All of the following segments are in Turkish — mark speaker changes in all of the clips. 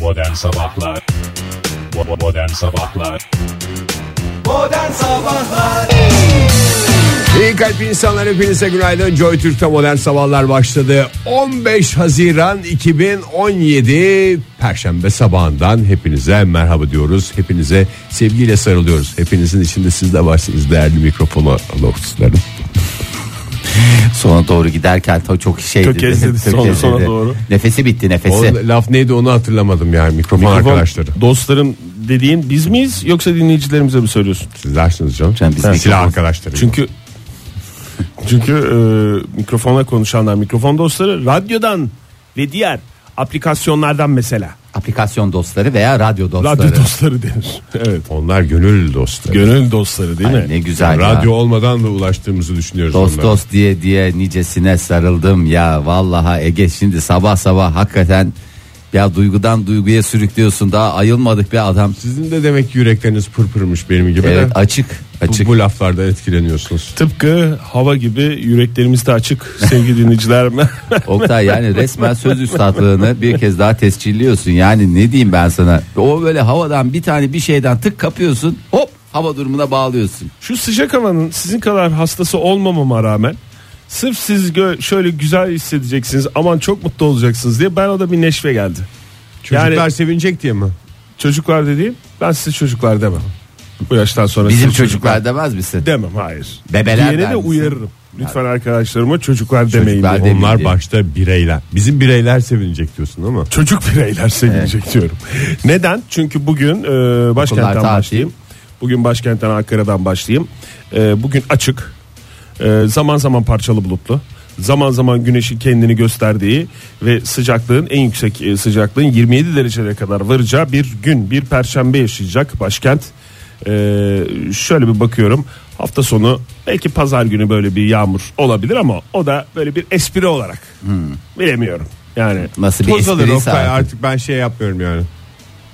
Speaker 1: Modern Sabahlar Bo- Modern Sabahlar
Speaker 2: Modern Sabahlar
Speaker 3: İyi kalp insanlar hepinize günaydın. Joy Türk'te modern sabahlar başladı. 15 Haziran 2017 Perşembe sabahından hepinize merhaba diyoruz. Hepinize sevgiyle sarılıyoruz. Hepinizin içinde siz de varsınız değerli mikrofonu alırsınlarım.
Speaker 4: Sona doğru giderken ta- çok şeydi.
Speaker 5: Tökezledi,
Speaker 4: Tökezledi.
Speaker 5: sona- sona doğru.
Speaker 4: Nefesi bitti nefesi.
Speaker 3: O laf neydi onu hatırlamadım yani mikrofon,
Speaker 5: Mikrofon,
Speaker 3: arkadaşları.
Speaker 5: Dostlarım dediğin biz miyiz yoksa dinleyicilerimize mi söylüyorsun?
Speaker 3: Siz dersiniz canım.
Speaker 4: Canım biz
Speaker 3: Silah
Speaker 4: mikrofon-
Speaker 3: arkadaşları.
Speaker 5: Çünkü çünkü e, mikrofona konuşanlar mikrofon dostları radyodan ve diğer aplikasyonlardan mesela.
Speaker 4: Aplikasyon dostları veya radyo dostları.
Speaker 5: Radyo dostları denir. Evet.
Speaker 3: onlar gönül dostu.
Speaker 5: Gönül dostları değil
Speaker 4: Ay,
Speaker 5: mi?
Speaker 4: ne güzel
Speaker 3: Radyo
Speaker 4: ya.
Speaker 3: olmadan da ulaştığımızı düşünüyoruz.
Speaker 4: Dost
Speaker 3: onlara.
Speaker 4: dost diye diye nicesine sarıldım ya vallaha Ege şimdi sabah sabah hakikaten ya duygudan duyguya sürüklüyorsun daha ayılmadık bir adam.
Speaker 3: Sizin de demek ki yürekleriniz pırpırmış benim gibi
Speaker 4: Evet
Speaker 3: de.
Speaker 4: açık açık.
Speaker 3: Bu, bu laflarda etkileniyorsunuz.
Speaker 5: Tıpkı hava gibi yüreklerimiz de açık sevgili dinleyiciler.
Speaker 4: Oktay yani resmen söz üstadlığını bir kez daha tescilliyorsun. Yani ne diyeyim ben sana? O böyle havadan bir tane bir şeyden tık kapıyorsun. Hop hava durumuna bağlıyorsun.
Speaker 5: Şu sıcak havanın sizin kadar hastası olmamama rağmen sırf siz gö- şöyle güzel hissedeceksiniz aman çok mutlu olacaksınız diye ben o da bir neşve geldi.
Speaker 3: Çocuklar
Speaker 5: Yani-
Speaker 3: sevinecek diye mi?
Speaker 5: Çocuklar dediğim ben size çocuklar demem. Bu yaştan sonra
Speaker 4: Bizim
Speaker 5: size
Speaker 4: çocuklar demez misin?
Speaker 5: demem hayır.
Speaker 4: Bebeler
Speaker 5: Diyene
Speaker 4: der
Speaker 5: de
Speaker 4: misin?
Speaker 5: uyarırım. Lütfen arkadaşlarıma çocuklar, demeyin
Speaker 4: Çocuklar
Speaker 5: diye.
Speaker 4: demeyin
Speaker 3: Onlar
Speaker 4: diye.
Speaker 3: başta bireyler. Bizim bireyler sevinecek diyorsun ama.
Speaker 5: Çocuk bireyler sevinecek diyorum. Neden? Çünkü bugün e, başkentten
Speaker 4: tatil.
Speaker 5: başlayayım. Bugün başkentten Ankara'dan başlayayım. E, bugün açık. E, zaman zaman parçalı bulutlu. Zaman zaman güneşin kendini gösterdiği ve sıcaklığın en yüksek e, sıcaklığın 27 derecelere kadar varacağı bir gün, bir perşembe yaşayacak başkent. E, şöyle bir bakıyorum. Hafta sonu belki pazar günü böyle bir yağmur olabilir ama o da böyle bir espri olarak. Bilemiyorum. Yani
Speaker 4: Hmm. Nasıl bir
Speaker 3: Toz alır
Speaker 4: espriyse
Speaker 3: Oktay
Speaker 4: artık.
Speaker 3: artık ben şey yapmıyorum yani.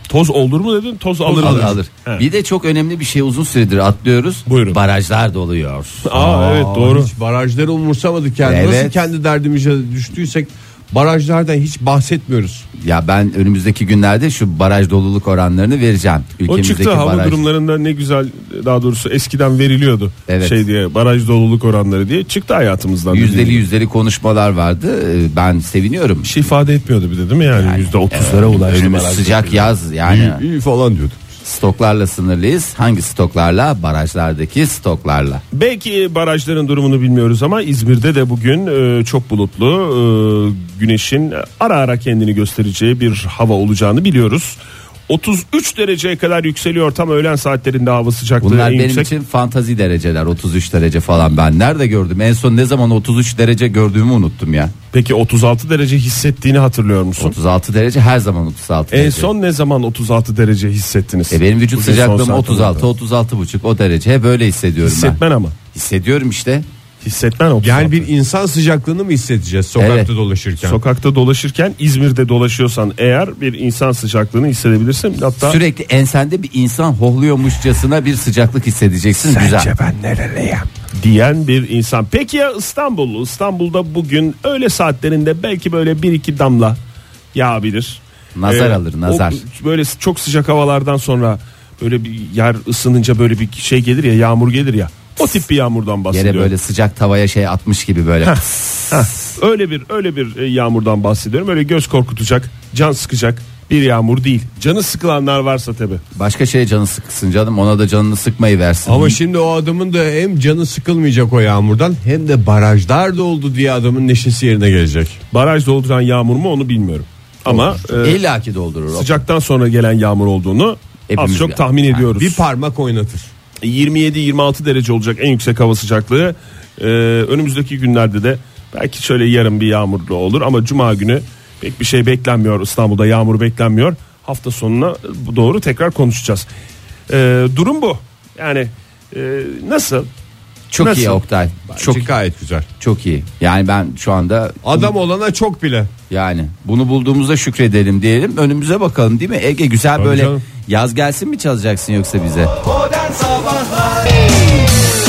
Speaker 5: Toz olur mu dedin? Toz alır.
Speaker 4: Alır,
Speaker 5: mı?
Speaker 4: alır.
Speaker 5: He.
Speaker 4: Bir de çok önemli bir şey uzun süredir atlıyoruz.
Speaker 5: Buyurun.
Speaker 4: Barajlar doluyor.
Speaker 5: Aa, evet doğru.
Speaker 3: Hiç barajları umursamadık yani. Nasıl
Speaker 4: Evet.
Speaker 3: kendi derdimize düştüysek barajlardan hiç bahsetmiyoruz.
Speaker 4: Ya ben önümüzdeki günlerde şu baraj doluluk oranlarını vereceğim.
Speaker 5: O
Speaker 4: Ülkemizdeki
Speaker 5: çıktı hava
Speaker 4: baraj.
Speaker 5: durumlarında ne güzel daha doğrusu eskiden veriliyordu.
Speaker 4: Evet.
Speaker 5: Şey diye baraj doluluk oranları diye çıktı hayatımızdan.
Speaker 4: Yüzdeli
Speaker 5: dediğim gibi.
Speaker 4: yüzdeli konuşmalar vardı. Ee, Ben seviniyorum.
Speaker 5: Bir şey ifade etmiyordu bir de değil mi yani, yüzde otuzlara ulaştı.
Speaker 4: Önümüz
Speaker 5: baraj
Speaker 4: sıcak yaz yani.
Speaker 3: İyi, iyi falan diyorduk.
Speaker 4: Stoklarla sınırlıyız. Hangi stoklarla? Barajlardaki stoklarla.
Speaker 5: Belki barajların durumunu bilmiyoruz ama İzmir'de de bugün e, çok bulutlu e, güneşin ara ara kendini göstereceği bir hava olacağını biliyoruz. 33 dereceye kadar yükseliyor tam öğlen saatlerinde hava sıcaklığı
Speaker 4: Bunlar
Speaker 5: en
Speaker 4: benim
Speaker 5: yüksek.
Speaker 4: için fantazi dereceler. 33 derece falan ben nerede gördüm? En son ne zaman 33 derece gördüğümü unuttum ya.
Speaker 5: Peki 36 derece hissettiğini hatırlıyor musun?
Speaker 4: 36 derece her zaman 36
Speaker 5: En
Speaker 4: derece.
Speaker 5: son ne zaman 36 derece hissettiniz?
Speaker 4: E benim vücut
Speaker 5: Bugün son
Speaker 4: sıcaklığım
Speaker 5: saatlerde.
Speaker 4: 36, 36 buçuk o derece. Hep böyle hissediyorum ben.
Speaker 5: Hissetmen ama.
Speaker 4: Hissediyorum işte.
Speaker 5: Hissetmen 36.
Speaker 3: Yani bir insan sıcaklığını mı hissedeceğiz sokakta
Speaker 4: Evet.
Speaker 3: dolaşırken?
Speaker 5: Sokakta dolaşırken İzmir'de dolaşıyorsan eğer bir insan sıcaklığını hissedebilirsin. Hatta
Speaker 4: Sürekli ensende bir insan hohluyormuşçasına bir sıcaklık hissedeceksin. Güzel.
Speaker 5: ben nereleyim diyen bir insan. Peki ya İstanbul? İstanbul'da bugün öğle saatlerinde belki böyle bir iki damla yağabilir. Ee,
Speaker 4: Nazar alır,
Speaker 5: o
Speaker 4: nazar.
Speaker 5: böyle çok sıcak havalardan sonra böyle bir yer ısınınca böyle bir şey gelir ya yağmur gelir ya. O tip bir yağmurdan
Speaker 4: Yere
Speaker 5: bahsediyorum.
Speaker 4: böyle sıcak tavaya şey atmış gibi böyle.
Speaker 5: Heh, öyle bir öyle bir e, yağmurdan bahsediyorum. Öyle göz korkutacak, can sıkacak bir yağmur değil. Canı sıkılanlar varsa tabi.
Speaker 4: Başka şeye canı sıksın canım ona da canını sıkmayı versin.
Speaker 3: Ama şimdi o adamın da hem canı sıkılmayacak o yağmurdan hem de barajlar doldu diye adamın neşesi yerine gelecek.
Speaker 5: Baraj dolduran yağmur mu onu bilmiyorum. Ama e,
Speaker 4: İlla ki doldurur. o.
Speaker 5: sıcaktan sonra gelen yağmur olduğunu
Speaker 4: Hepimiz
Speaker 5: az çok
Speaker 4: yani.
Speaker 5: tahmin
Speaker 4: Yani
Speaker 5: ediyoruz.
Speaker 3: Bir parmak oynatır.
Speaker 5: 27-26 derece olacak en yüksek hava sıcaklığı. E, önümüzdeki günlerde de belki şöyle yarın bir yağmurlu olur ama cuma günü pek bir şey beklenmiyor. İstanbul'da yağmur beklenmiyor. Hafta sonuna doğru tekrar konuşacağız. E, durum bu. Yani e, nasıl?
Speaker 4: Çok
Speaker 5: Nasıl?
Speaker 4: iyi Oktay. Çok
Speaker 3: Çok gayet güzel.
Speaker 4: çok iyi. Yani ben şu anda
Speaker 3: Adam olana çok bile.
Speaker 4: yani bunu bulduğumuza şükredelim diyelim. Önümüze bakalım değil mi? Ege güzel böyle
Speaker 3: canım.
Speaker 4: yaz gelsin mi çalacaksın yoksa bize?
Speaker 2: Modern Sabahlar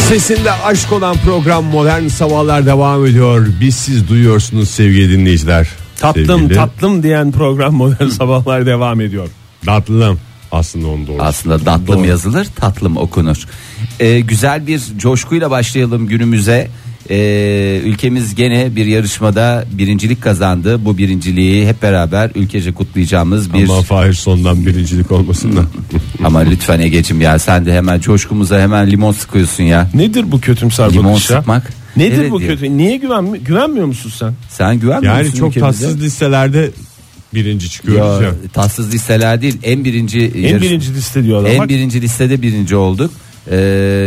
Speaker 3: Sesinde aşk olan program Modern Sabahlar devam ediyor. Biz siz duyuyorsunuz sevgili dinleyiciler.
Speaker 5: Tatlım
Speaker 3: Sevgili-
Speaker 5: tatlım diyen program modern sabahlar devam ediyor.
Speaker 3: Tatlım. Aslında onu doğru.
Speaker 4: Aslında tatlım yazılır, tatlım okunur. Ee, güzel bir coşkuyla başlayalım günümüze. Ee, ülkemiz gene bir yarışmada birincilik kazandı. Bu birinciliği hep beraber ülkece kutlayacağımız bir
Speaker 3: Ama Fahir sondan birincilik olmasın da.
Speaker 4: ama lütfen Ege'cim ya sen de hemen coşkumuza hemen limon sıkıyorsun ya.
Speaker 5: Nedir bu kötümser
Speaker 4: Limon
Speaker 5: bakış ya?
Speaker 4: sıkmak.
Speaker 5: Nedir
Speaker 4: Evet
Speaker 5: bu
Speaker 4: diyor.
Speaker 5: kötü? Niye güven güvenmiyor musun sen?
Speaker 4: Sen güvenmiyorsun
Speaker 3: yani çok
Speaker 4: ülkemize.
Speaker 3: tatsız listelerde birinci çıkıyoruz ya.
Speaker 4: ya, tatsız listeler değil en birinci
Speaker 5: En birinci liste diyor adam.
Speaker 4: En
Speaker 5: Bak,
Speaker 4: birinci listede birinci olduk. Ee,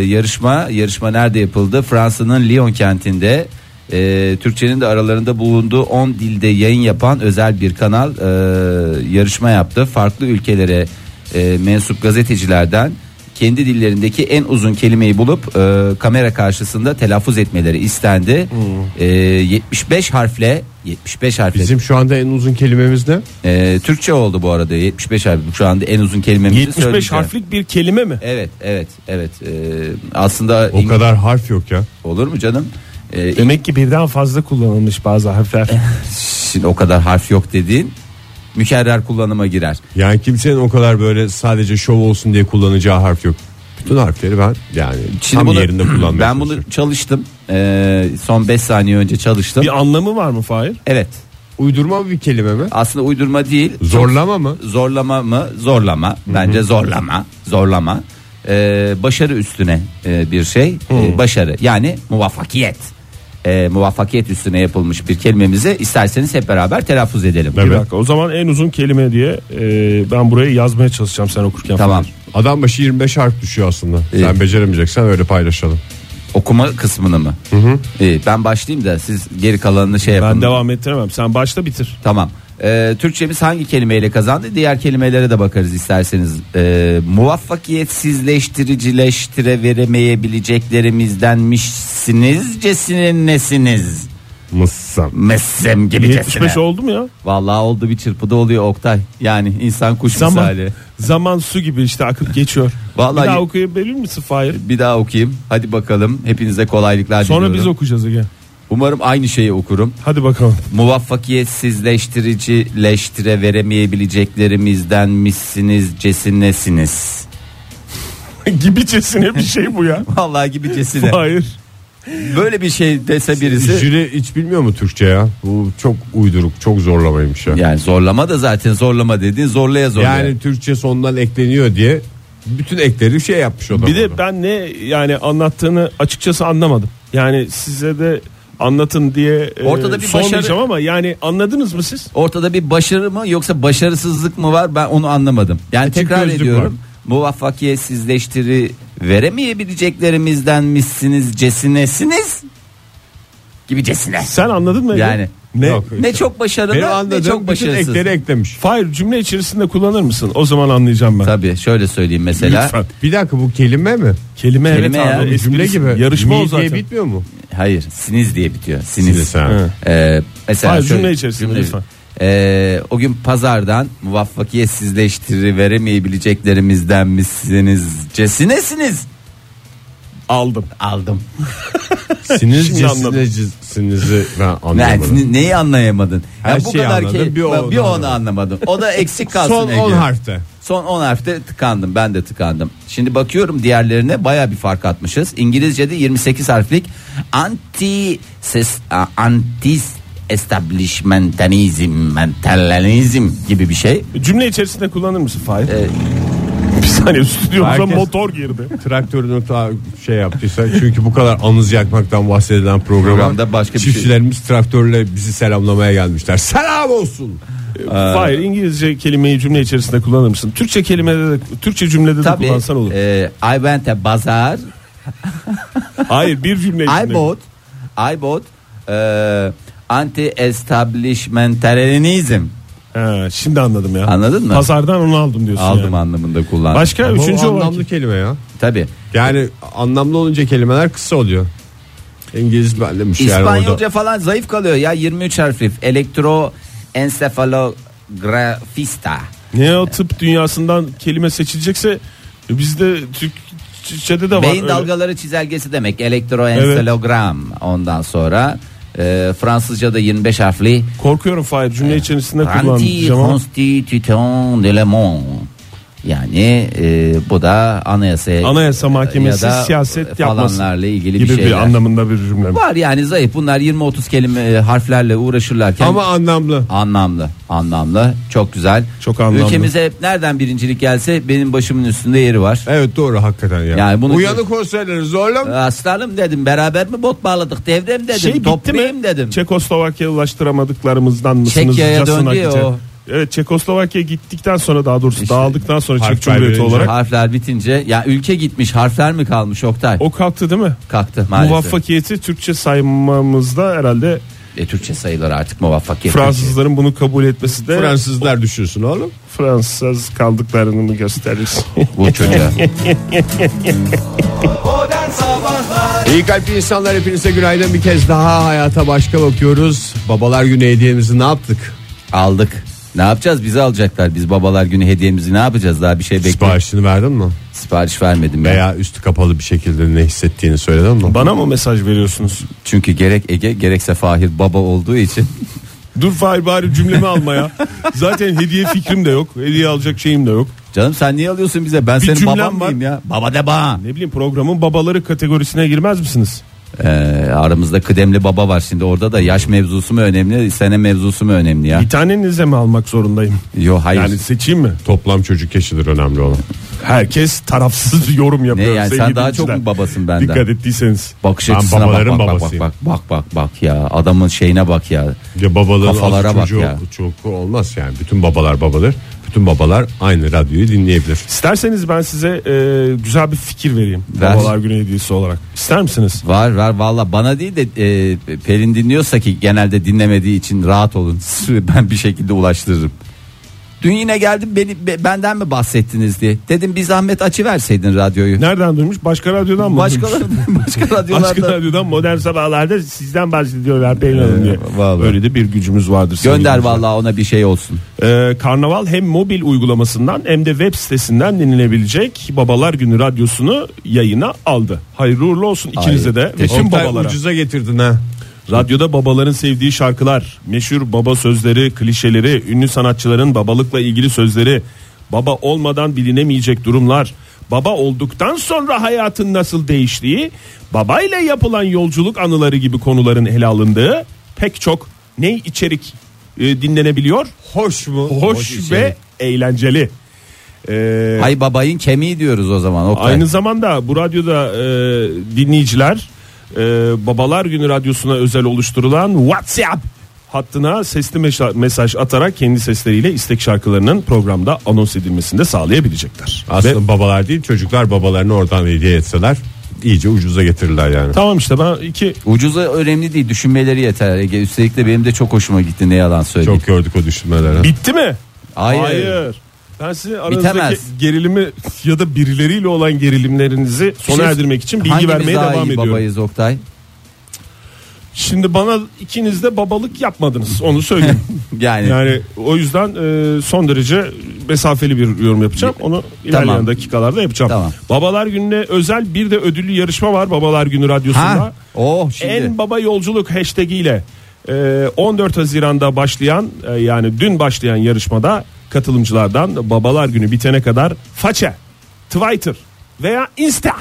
Speaker 4: yarışma yarışma nerede yapıldı? Fransa'nın Lyon kentinde e, Türkçenin de aralarında bulunduğu 10 dilde yayın yapan özel bir kanal e, yarışma yaptı. Farklı ülkelere e, mensup gazetecilerden kendi dillerindeki en uzun kelimeyi bulup e, kamera karşısında telaffuz etmeleri istendi. E, 75 harfle 75 harfle
Speaker 3: Bizim şu anda en uzun kelimemiz ne?
Speaker 4: e, Türkçe oldu bu arada 75 harf şu anda en uzun kelimemizi
Speaker 5: 75
Speaker 4: şey söyleyeceğim.
Speaker 5: harflik bir kelime mi?
Speaker 4: Evet evet evet Ee, aslında
Speaker 3: O
Speaker 4: İng-
Speaker 3: kadar harf yok ya.
Speaker 4: olur mu canım? Ee, İng-
Speaker 5: Demek ki birden fazla kullanılmış bazı harfler.
Speaker 4: Şimdi o kadar harf yok dediğin mükerrer kullanıma girer.
Speaker 3: Yani kimsenin o kadar böyle sadece şov olsun diye kullanacağı harf yok. Bütün harfleri ben yani tam
Speaker 4: bunu-
Speaker 3: yerinde kullanmaya
Speaker 4: Ben bunu
Speaker 3: çalışıyorum.
Speaker 4: çalıştım Ee, son 5 saniye önce çalıştım.
Speaker 5: bir anlamı var mı Fahir?
Speaker 4: Evet
Speaker 3: Uydurma bir kelime mi?
Speaker 4: aslında uydurma değil.
Speaker 3: Zorlama mı?
Speaker 4: Zorlama mı? Zorlama. Bence zorlama. Zorlama. Ee, başarı üstüne e, bir şey. Ee, başarı yani muvaffakiyet. Ee, muvaffakiyet üstüne yapılmış bir kelimemizi isterseniz hep beraber telaffuz edelim.
Speaker 5: Bir
Speaker 3: Evet.
Speaker 5: dakika o zaman en uzun kelime diye e, ben buraya yazmaya çalışacağım sen okurken.
Speaker 4: Tamam.
Speaker 5: Fahir.
Speaker 3: Adam başı 25 harf düşüyor aslında. Sen
Speaker 4: İyi.
Speaker 3: beceremeyeceksen öyle paylaşalım.
Speaker 4: Okuma kısmını mı? İyi, ben başlayayım da siz geri kalanını şey yapın.
Speaker 5: Ben devam ettiremem sen başla bitir.
Speaker 4: Tamam. Ee, Türkçemiz hangi kelimeyle kazandı? Diğer kelimelere de bakarız isterseniz. Ee, muvaffakiyetsizleştiricileştire veremeyebileceklerimizdenmişsinizcesinin nesiniz?
Speaker 3: Mısın?
Speaker 4: Messem gibi
Speaker 5: 75 oldu mu ya?
Speaker 4: Vallahi oldu bir çırpıda oluyor Oktay. Yani insan kuş
Speaker 5: Zaman,
Speaker 4: misali.
Speaker 5: zaman su gibi işte akıp geçiyor.
Speaker 4: Vallahi-
Speaker 5: Bir daha okuyabilir misin Fahir?
Speaker 4: Bir daha okuyayım. Hadi bakalım. Hepinize kolaylıklar
Speaker 5: Sonra biz
Speaker 4: diliyorum.
Speaker 5: okuyacağız Ege.
Speaker 4: Umarım aynı şeyi okurum.
Speaker 5: Hadi bakalım.
Speaker 4: muvaffakiyetsizleştiricileştire veremeyebileceklerimizden misiniz cesinesiniz.
Speaker 5: Gibicesine bir şey bu ya.
Speaker 4: Vallahi gibi cesine.
Speaker 5: Hayır.
Speaker 4: Böyle bir şey dese birisi.
Speaker 3: Jüri hiç bilmiyor mu Türkçe ya? Bu çok uyduruk, çok zorlamaymış ya.
Speaker 4: Yani zorlama da zaten zorlama dediğin zorlaya zorlaya.
Speaker 3: Yani Türkçe sondan ekleniyor diye bütün ekleri şey yapmış o da.
Speaker 5: Bir de ben ne yani anlattığını açıkçası anlamadım. Yani size de anlatın diye e,
Speaker 4: Ortada bir
Speaker 5: son
Speaker 4: başarı-
Speaker 5: diyeceğim ama yani anladınız mı siz?
Speaker 4: Ortada bir başarı mı yoksa başarısızlık mı var ben onu anlamadım. Yani
Speaker 3: E,
Speaker 4: tekrar
Speaker 3: gözlük
Speaker 4: ediyorum. Muvaffakiyetsizleştiri veremeyebileceklerimizden misiniz cesinesiniz gibi cesine.
Speaker 5: Sen anladın mı? Ege?
Speaker 4: Yani.
Speaker 5: ne?
Speaker 3: Yok.
Speaker 4: Ne çok
Speaker 3: Benim
Speaker 4: başarılı ne
Speaker 3: anladığım
Speaker 4: çok
Speaker 3: bütün
Speaker 4: başarısız.
Speaker 3: ekleri eklemiş.
Speaker 5: Fahir cümle içerisinde kullanır mısın? O zaman anlayacağım ben.
Speaker 4: Tabii şöyle söyleyeyim mesela.
Speaker 5: Lütfen.
Speaker 3: Bir dakika bu kelime mi?
Speaker 4: Kelime
Speaker 5: Kelime, evet
Speaker 4: ya.
Speaker 5: abi, esprisi-
Speaker 3: Cümle gibi.
Speaker 5: Yarışma
Speaker 3: Mi
Speaker 5: o zaten.
Speaker 3: diye bitmiyor mu?
Speaker 4: Hayır, siniz diye bitiyor. Siniz.
Speaker 3: Siz ha.
Speaker 4: Ee, mesela
Speaker 5: Hayır,
Speaker 4: şöyle-
Speaker 5: cümle içerisinde lütfen.
Speaker 4: Ee, o gün pazardan muvaffakiyetsizleştiri veremeyebileceklerimizden misiniz cesinesiniz
Speaker 5: Aldım.
Speaker 4: aldım.
Speaker 3: Sinir
Speaker 5: Şimdi anladım.
Speaker 3: cesinizinizi ben
Speaker 4: Yani
Speaker 3: anlamadım.
Speaker 4: ne- neyi anlayamadın?
Speaker 3: Her şeyi anladım,
Speaker 4: key-
Speaker 3: bir onu
Speaker 4: bir onu
Speaker 3: anlamadım.
Speaker 4: anlamadım. O da eksik kalsın.
Speaker 3: Son
Speaker 4: Ege.
Speaker 3: 10 harfte.
Speaker 4: Son 10 harfte tıkandım ben de tıkandım. Şimdi bakıyorum diğerlerine baya bir fark atmışız. İngilizce'de 28 harflik anti ses a- anti establishmentalizm mentalizm gibi bir şey.
Speaker 5: Cümle içerisinde kullanır mısın Fahir? bir saniye stüdyomuza
Speaker 3: Herkes-
Speaker 5: motor girdi.
Speaker 3: Traktörünü ta şey yaptıysa çünkü bu kadar anız yakmaktan bahsedilen programa
Speaker 4: Programda başka bir şey-
Speaker 3: çiftçilerimiz traktörle bizi selamlamaya gelmişler. Selam olsun.
Speaker 5: Hayır İngilizce kelimeyi cümle içerisinde kullanır mısın? Türkçe kelimede de Türkçe cümlede de
Speaker 4: Tabii.
Speaker 5: kullansan olur.
Speaker 4: e, I went a bazaar.
Speaker 5: Hayır bir cümle
Speaker 4: I
Speaker 5: içinde.
Speaker 4: bought I bought e, anti
Speaker 5: Şey
Speaker 4: establishmentalizm.
Speaker 5: Ha, şimdi anladım ya.
Speaker 4: Anladın mı?
Speaker 5: Pazardan onu aldım diyorsun
Speaker 4: Aldım
Speaker 5: yani.
Speaker 4: anlamında kullandım.
Speaker 5: Başka
Speaker 3: Ama
Speaker 5: üçüncü
Speaker 3: o
Speaker 5: olan
Speaker 3: anlamlı kelime ya.
Speaker 4: Tabii.
Speaker 3: Yani anlamlı olunca kelimeler kısa oluyor. İngiliz bellemiş yani
Speaker 4: İspanyolca
Speaker 3: orada.
Speaker 4: falan zayıf kalıyor ya 23 harfli elektro ensefalografista.
Speaker 5: ne o tıp dünyasından kelime seçilecekse e, bizde Türkçede de var.
Speaker 4: Beyin
Speaker 5: öyle.
Speaker 4: dalgaları çizelgesi demek elektroensalogram ondan sonra E, Fransızca da 25 harfli.
Speaker 5: Korkuyorum Fahir cümle içerisinde kullanacağım ama
Speaker 4: Anti-Constitution de la Monde. Yani e, bu da anayasa
Speaker 5: Anayasa Mahkemesi
Speaker 4: e, ya da e,
Speaker 5: siyaset yapmasın
Speaker 4: falanlarla ilgili
Speaker 5: gibi
Speaker 4: bir
Speaker 5: bir,
Speaker 4: şeyler.
Speaker 5: anlamında bir cümle. mi?
Speaker 4: Var yani zayıf bunlar 20-30 kelime e, harflerle uğraşırlarken
Speaker 3: Ama anlamlı.
Speaker 4: anlamlı anlamlı çok güzel.
Speaker 5: Çok anlamlı.
Speaker 4: Ülkemize hep nereden birincilik gelse benim başımın üstünde yeri var.
Speaker 3: Evet doğru hakikaten ya.
Speaker 4: Yani bunu-
Speaker 3: Uyanık olsaydınız zorlam.
Speaker 4: Aslanım dedim beraber mi bot bağladık devrem dedim
Speaker 5: Şey bitti
Speaker 4: toplayayım
Speaker 5: mi?
Speaker 4: dedim.
Speaker 5: Çekoslovakya ulaştıramadıklarımızdan mısınız?
Speaker 4: Çekya'ya
Speaker 5: Casına
Speaker 4: döndü ya
Speaker 5: gidecek.
Speaker 4: o.
Speaker 5: Evet Çekoslovakya gittikten sonra daha doğrusu
Speaker 4: İşte.
Speaker 5: dağıldıktan sonra
Speaker 3: Harfler
Speaker 5: Çek Cumhuriyeti
Speaker 3: verince.
Speaker 5: olarak
Speaker 4: Harfler bitince ya ülke gitmiş harfler mi kalmış Oktay?
Speaker 5: o kalktı değil mi?
Speaker 4: Kalktı maalesef.
Speaker 5: Muvaffakiyeti Türkçe saymamızda herhalde
Speaker 4: E, Türkçe sayılır artık muvaffakiyet.
Speaker 5: Fransızların bunu kabul etmesi de
Speaker 3: Fransızlar düşünsün oğlum.
Speaker 5: Fransız kaldıklarını mı gösterir?
Speaker 4: Bu çocuğa.
Speaker 2: Modern Sabahlar
Speaker 3: İyi kalpli insanlar hepinize günaydın. Bir kez daha hayata başka bakıyoruz. Babalar günü hediyemizi ne yaptık?
Speaker 4: Aldık. Ne yapacağız? Bizi alacaklar. Biz babalar günü hediyemizi ne yapacağız? Daha bir şey bekliyoruz.
Speaker 3: Siparişini verdin mi?
Speaker 4: Sipariş vermedim ben.
Speaker 3: Veya üstü kapalı bir şekilde ne hissettiğini söyledin mi?
Speaker 5: Bana mı mesaj veriyorsunuz?
Speaker 4: Çünkü gerek Ege gerekse Fahir baba olduğu için
Speaker 5: Dur Fahir bari cümlemi almaya. Zaten hediye fikrim de yok. Hediye alacak şeyim de yok.
Speaker 4: Canım sen niye alıyorsun bize? Ben
Speaker 5: Bir
Speaker 4: senin
Speaker 5: cümlem
Speaker 4: baban
Speaker 5: var.
Speaker 4: mıyım ya? Baba de bana.
Speaker 5: Ne bileyim programın babaları kategorisine girmez misiniz?
Speaker 4: Ee, aramızda kıdemli baba var şimdi orada da yaş mevzusu mu önemli, sene mevzusu mu önemli ya?
Speaker 5: Bir tanenize mi almak zorundayım?
Speaker 4: Yo hayır.
Speaker 5: Yani seçeyim mi?
Speaker 3: Toplam çocuk yaşıdır önemli olan.
Speaker 5: Herkes tarafsız bir yorum yapıyor.
Speaker 4: Ne yani, sen
Speaker 5: sevgili
Speaker 4: daha çok
Speaker 5: dinleyiciler.
Speaker 4: mu babasın benden?
Speaker 5: Dikkat ettiyseniz.
Speaker 4: Bakış
Speaker 3: Ben
Speaker 4: açısına bak bak,
Speaker 3: babaların
Speaker 4: bak bak
Speaker 3: babasıyım.
Speaker 4: bak bak bak bak ya adamın şeyine bak ya.
Speaker 3: Ya babaların
Speaker 4: Kafalara
Speaker 3: az
Speaker 4: bak
Speaker 3: çocuğu
Speaker 4: ya.
Speaker 3: çok olmaz yani. Bütün babalar babadır. Bütün babalar aynı radyoyu dinleyebilir.
Speaker 5: İsterseniz ben size e, güzel bir fikir vereyim.
Speaker 4: Ver.
Speaker 5: Babalar Günü hediyesi olarak. İster misiniz?
Speaker 4: Var var valla bana değil de e, Pelin dinliyorsa ki genelde dinlemediği için rahat olun. Ben bir şekilde ulaştırırım. Dün yine geldim beni be- benden mi bahsettiniz diye. Dedim bir zahmet açı verseydin radyoyu.
Speaker 5: Nereden duymuş? Başka radyodan mı? duymuş?
Speaker 4: Başkaları başka
Speaker 5: Başka
Speaker 4: radyolarda
Speaker 5: radyodan modern sabahlarda sizden bahsediyorlar Pelin Hanım diye.
Speaker 4: Ee, vallahi.
Speaker 5: Öyle de bir gücümüz vardır. sevgili
Speaker 4: gönder
Speaker 5: dinleyiciler.
Speaker 4: valla ona bir şey olsun.
Speaker 5: Ee, Karnaval hem mobil uygulamasından hem de web sitesinden dinlenebilecek Babalar Günü radyosunu yayına aldı. Hayırlı uğurlu olsun ikinize de. ve Tüm
Speaker 3: Oktay
Speaker 5: babalara.
Speaker 3: ucuza getirdin ha.
Speaker 5: Radyoda babaların sevdiği şarkılar, meşhur baba sözleri, klişeleri, ünlü sanatçıların babalıkla ilgili sözleri, baba olmadan bilinemeyecek durumlar, baba olduktan sonra hayatın nasıl değiştiği, babayla yapılan yolculuk anıları gibi konuların ele alındığı pek çok ne içerik e, dinlenebiliyor?
Speaker 3: Hoş şey. mu?
Speaker 5: Hoş,
Speaker 3: içerik.
Speaker 5: ve
Speaker 4: şey.
Speaker 5: eğlenceli. Ee,
Speaker 4: Ay babayın kemiği diyoruz o zaman. Oktay.
Speaker 5: Aynı zamanda bu radyoda e, dinleyiciler e, Babalar Günü Radyosu'na özel oluşturulan WhatsApp hattına sesli meşa- mesaj atarak kendi sesleriyle istek şarkılarının programda anons edilmesini de sağlayabilecekler.
Speaker 3: Aslında
Speaker 5: Ve-
Speaker 3: babalar değil çocuklar babalarını oradan hediye etseler iyice ucuza getirirler yani.
Speaker 5: tamam işte ben iki
Speaker 4: Ucuza önemli değil düşünmeleri yeter Ege. Üstelik de benim de çok hoşuma gitti ne yalan söyleyeyim.
Speaker 3: Çok gördük o düşünmeleri.
Speaker 5: bitti mi?
Speaker 4: Hayır.
Speaker 5: Ben sizin aranızdaki
Speaker 4: Bitemez.
Speaker 5: gerilimi ya da birileriyle olan gerilimlerinizi
Speaker 4: Bir
Speaker 5: sona
Speaker 4: şey-
Speaker 5: erdirmek için bilgi
Speaker 4: Hangimiz
Speaker 5: vermeye
Speaker 4: daha
Speaker 5: devam
Speaker 4: iyi
Speaker 5: ediyorum.
Speaker 4: babayız Oktay?
Speaker 5: Şimdi bana ikiniz de babalık yapmadınız onu söyleyeyim.
Speaker 4: Yani,
Speaker 5: Yani o yüzden e, son derece mesafeli bir yorum yapacağım. Onu ilerleyen
Speaker 4: Tamam.
Speaker 5: dakikalarda yapacağım.
Speaker 4: Tamam.
Speaker 5: Babalar Günü'ne özel bir de ödüllü yarışma var Babalar Günü Radyosu'nda.
Speaker 4: ha? Oh şimdi.
Speaker 5: En baba yolculuk hashtag'iyle e, 14 Haziran'da başlayan e, yani dün başlayan yarışmada katılımcılardan Babalar Günü bitene kadar faça, Twitter veya Insta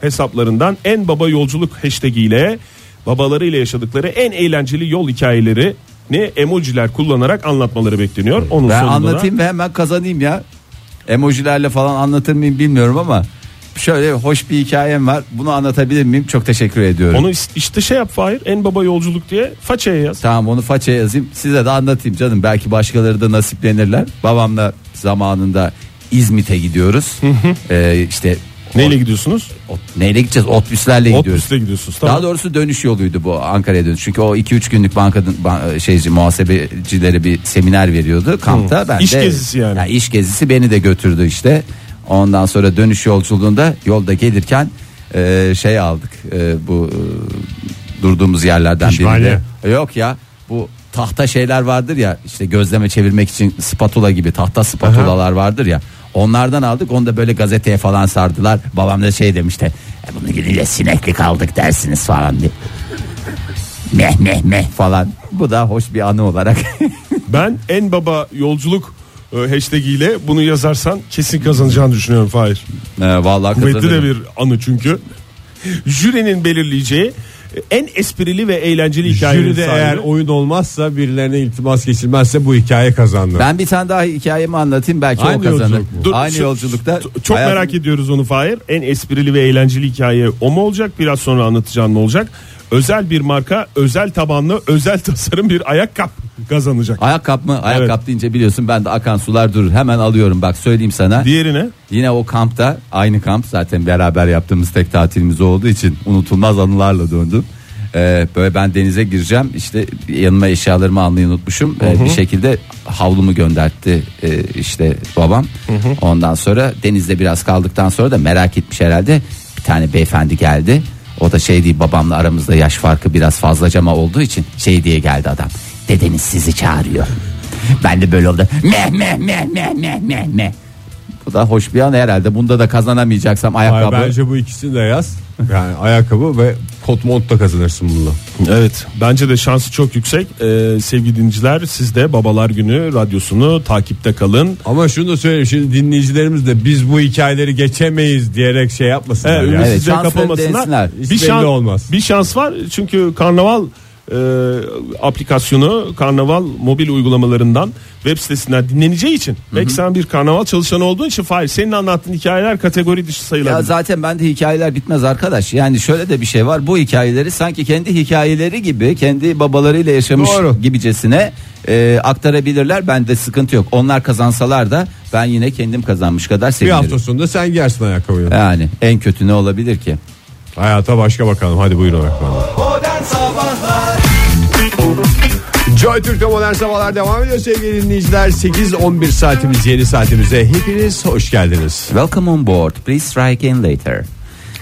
Speaker 5: hesaplarından en baba yolculuk hashtag'iyle babalarıyla yaşadıkları en eğlenceli yol hikayelerini emojiler kullanarak anlatmaları bekleniyor. Onun
Speaker 4: Ben
Speaker 5: sonunda da-
Speaker 4: anlatayım ve hemen kazanayım ya. Emojilerle falan anlatır mıyım bilmiyorum ama şöyle hoş bir hikayem var. Bunu anlatabilir miyim? Çok teşekkür ediyorum.
Speaker 5: onu is- işte şey yap Fahir en baba yolculuk diye façaya yaz.
Speaker 4: Tamam onu façaya yazayım. Size de anlatayım canım. Belki başkaları da nasiplenirler. Babamla zamanında İzmit'e gidiyoruz. Ee, işte
Speaker 5: Neyle gidiyorsunuz?
Speaker 4: ot- neyle gideceğiz? Otobüslerle gidiyoruz.
Speaker 5: Otobüsle gidiyorsunuz. Tamam.
Speaker 4: Daha doğrusu dönüş yoluydu bu Ankara'ya dönüş. Çünkü o 2-3 günlük bankadan ban- şeyci muhasebecilere bir seminer veriyordu kampta. Ben
Speaker 5: İş
Speaker 4: de,
Speaker 5: gezisi yani.
Speaker 4: iş gezisi beni de götürdü işte. Ondan sonra dönüş yolculuğunda yolda gelirken e, şey aldık. E, bu e, durduğumuz yerlerden
Speaker 3: Pişmaniye.
Speaker 4: birinde. E, Yok ya bu tahta şeyler vardır ya işte gözleme çevirmek için spatula gibi tahta spatulalar vardır ya. Onlardan aldık onu da böyle gazeteye falan sardılar. Babam da şey demişti. E, bunu gidince sineklik aldık dersiniz falan diye. meh meh meh falan. Bu da hoş bir anı olarak.
Speaker 5: Ben en baba yolculuk e, hashtag ile bunu yazarsan kesin kazanacağını düşünüyorum Fahir.
Speaker 4: Ee, vallahi
Speaker 5: Kuvvetli de
Speaker 4: kazanırım.
Speaker 5: bir anı çünkü. Jürinin belirleyeceği e, en esprili ve eğlenceli hikayenin
Speaker 3: Jüri de
Speaker 5: sahibi.
Speaker 3: eğer oyun olmazsa birilerine iltimas geçilmezse bu hikaye kazandı.
Speaker 4: Ben bir tane daha hikayemi anlatayım belki o
Speaker 3: Aynı
Speaker 4: kazanır.
Speaker 3: yolculuk mu?
Speaker 5: Dur,
Speaker 4: Aynı
Speaker 5: şu-
Speaker 4: yolculukta
Speaker 5: t- çok
Speaker 4: hayatım-
Speaker 5: merak ediyoruz onu Fahir. En esprili ve eğlenceli hikaye o mu olacak? Biraz sonra anlatacağın ne olacak? Özel bir marka, özel tabanlı, özel tasarım bir ayakkabı kazanacak.
Speaker 4: Ayakkabı mı? Ayakkabı
Speaker 5: Evet.
Speaker 4: deyince biliyorsun ben de akan sular durur. Hemen alıyorum bak söyleyeyim sana.
Speaker 5: Diğerine
Speaker 4: Yine o kampta aynı kamp zaten beraber yaptığımız tek tatilimiz olduğu için unutulmaz anılarla döndüm. Ee, böyle ben denize gireceğim işte yanıma eşyalarımı almayı unutmuşum Ee, bir şekilde havlumu göndertti e, işte babam ondan sonra denizde biraz kaldıktan sonra da merak etmiş herhalde bir tane beyefendi geldi o da şey değil babamla aramızda yaş farkı biraz fazlacama olduğu için şey diye geldi adam dedeniz sizi çağırıyor ben de böyle oldu meh meh meh meh meh meh meh bu da hoş bir an herhalde. Bunda da kazanamayacaksam
Speaker 3: Ay,
Speaker 4: ayakkabı.
Speaker 3: bence bu ikisini de yaz. Yani ayakkabı ve kot mont da kazanırsın bununla.
Speaker 5: Evet bence de şansı çok yüksek. Ee, sevgili dinleyiciler siz de Babalar Günü radyosunu takipte kalın.
Speaker 3: Ama şunu da söyleyeyim şimdi dinleyicilerimiz de biz bu hikayeleri geçemeyiz diyerek şey yapmasınlar.
Speaker 5: Evet,
Speaker 3: yani.
Speaker 4: ümitsizliğe şans
Speaker 5: kapılmasınlar.
Speaker 4: vermesinler.
Speaker 3: Hiç
Speaker 5: Bir
Speaker 3: belli
Speaker 5: şans,
Speaker 3: olmaz.
Speaker 5: bir şans var çünkü karnaval e, aplikasyonu karnaval mobil uygulamalarından web sitesinden dinleneceği için. Belki sen bir karnaval çalışanı olduğun için Fahir senin anlattığın hikayeler kategori dışı
Speaker 4: Ya
Speaker 5: sayılabilir.
Speaker 4: zaten bende hikayeler bitmez arkadaş. Yani şöyle de bir şey var. Bu hikayeleri sanki kendi hikayeleri gibi, kendi babalarıyla yaşamış
Speaker 3: Doğru.
Speaker 4: gibicesine e, aktarabilirler. Bende sıkıntı yok. Onlar kazansalar da ben yine kendim kazanmış kadar
Speaker 3: Bir
Speaker 4: sevinirim.
Speaker 3: hafta sonunda sen giyersin ayakkabıyı.
Speaker 4: Yani en kötü ne olabilir ki?
Speaker 3: Hayata başka bakalım. Hadi buyurun efendim.
Speaker 2: Modern Sabahlar
Speaker 3: Joy Türk'te modern sabahlar devam ediyor sevgili dinleyiciler. 8-11 saatimiz yeni saatimize hepiniz hoş geldiniz.
Speaker 4: Welcome on board. Please try again later.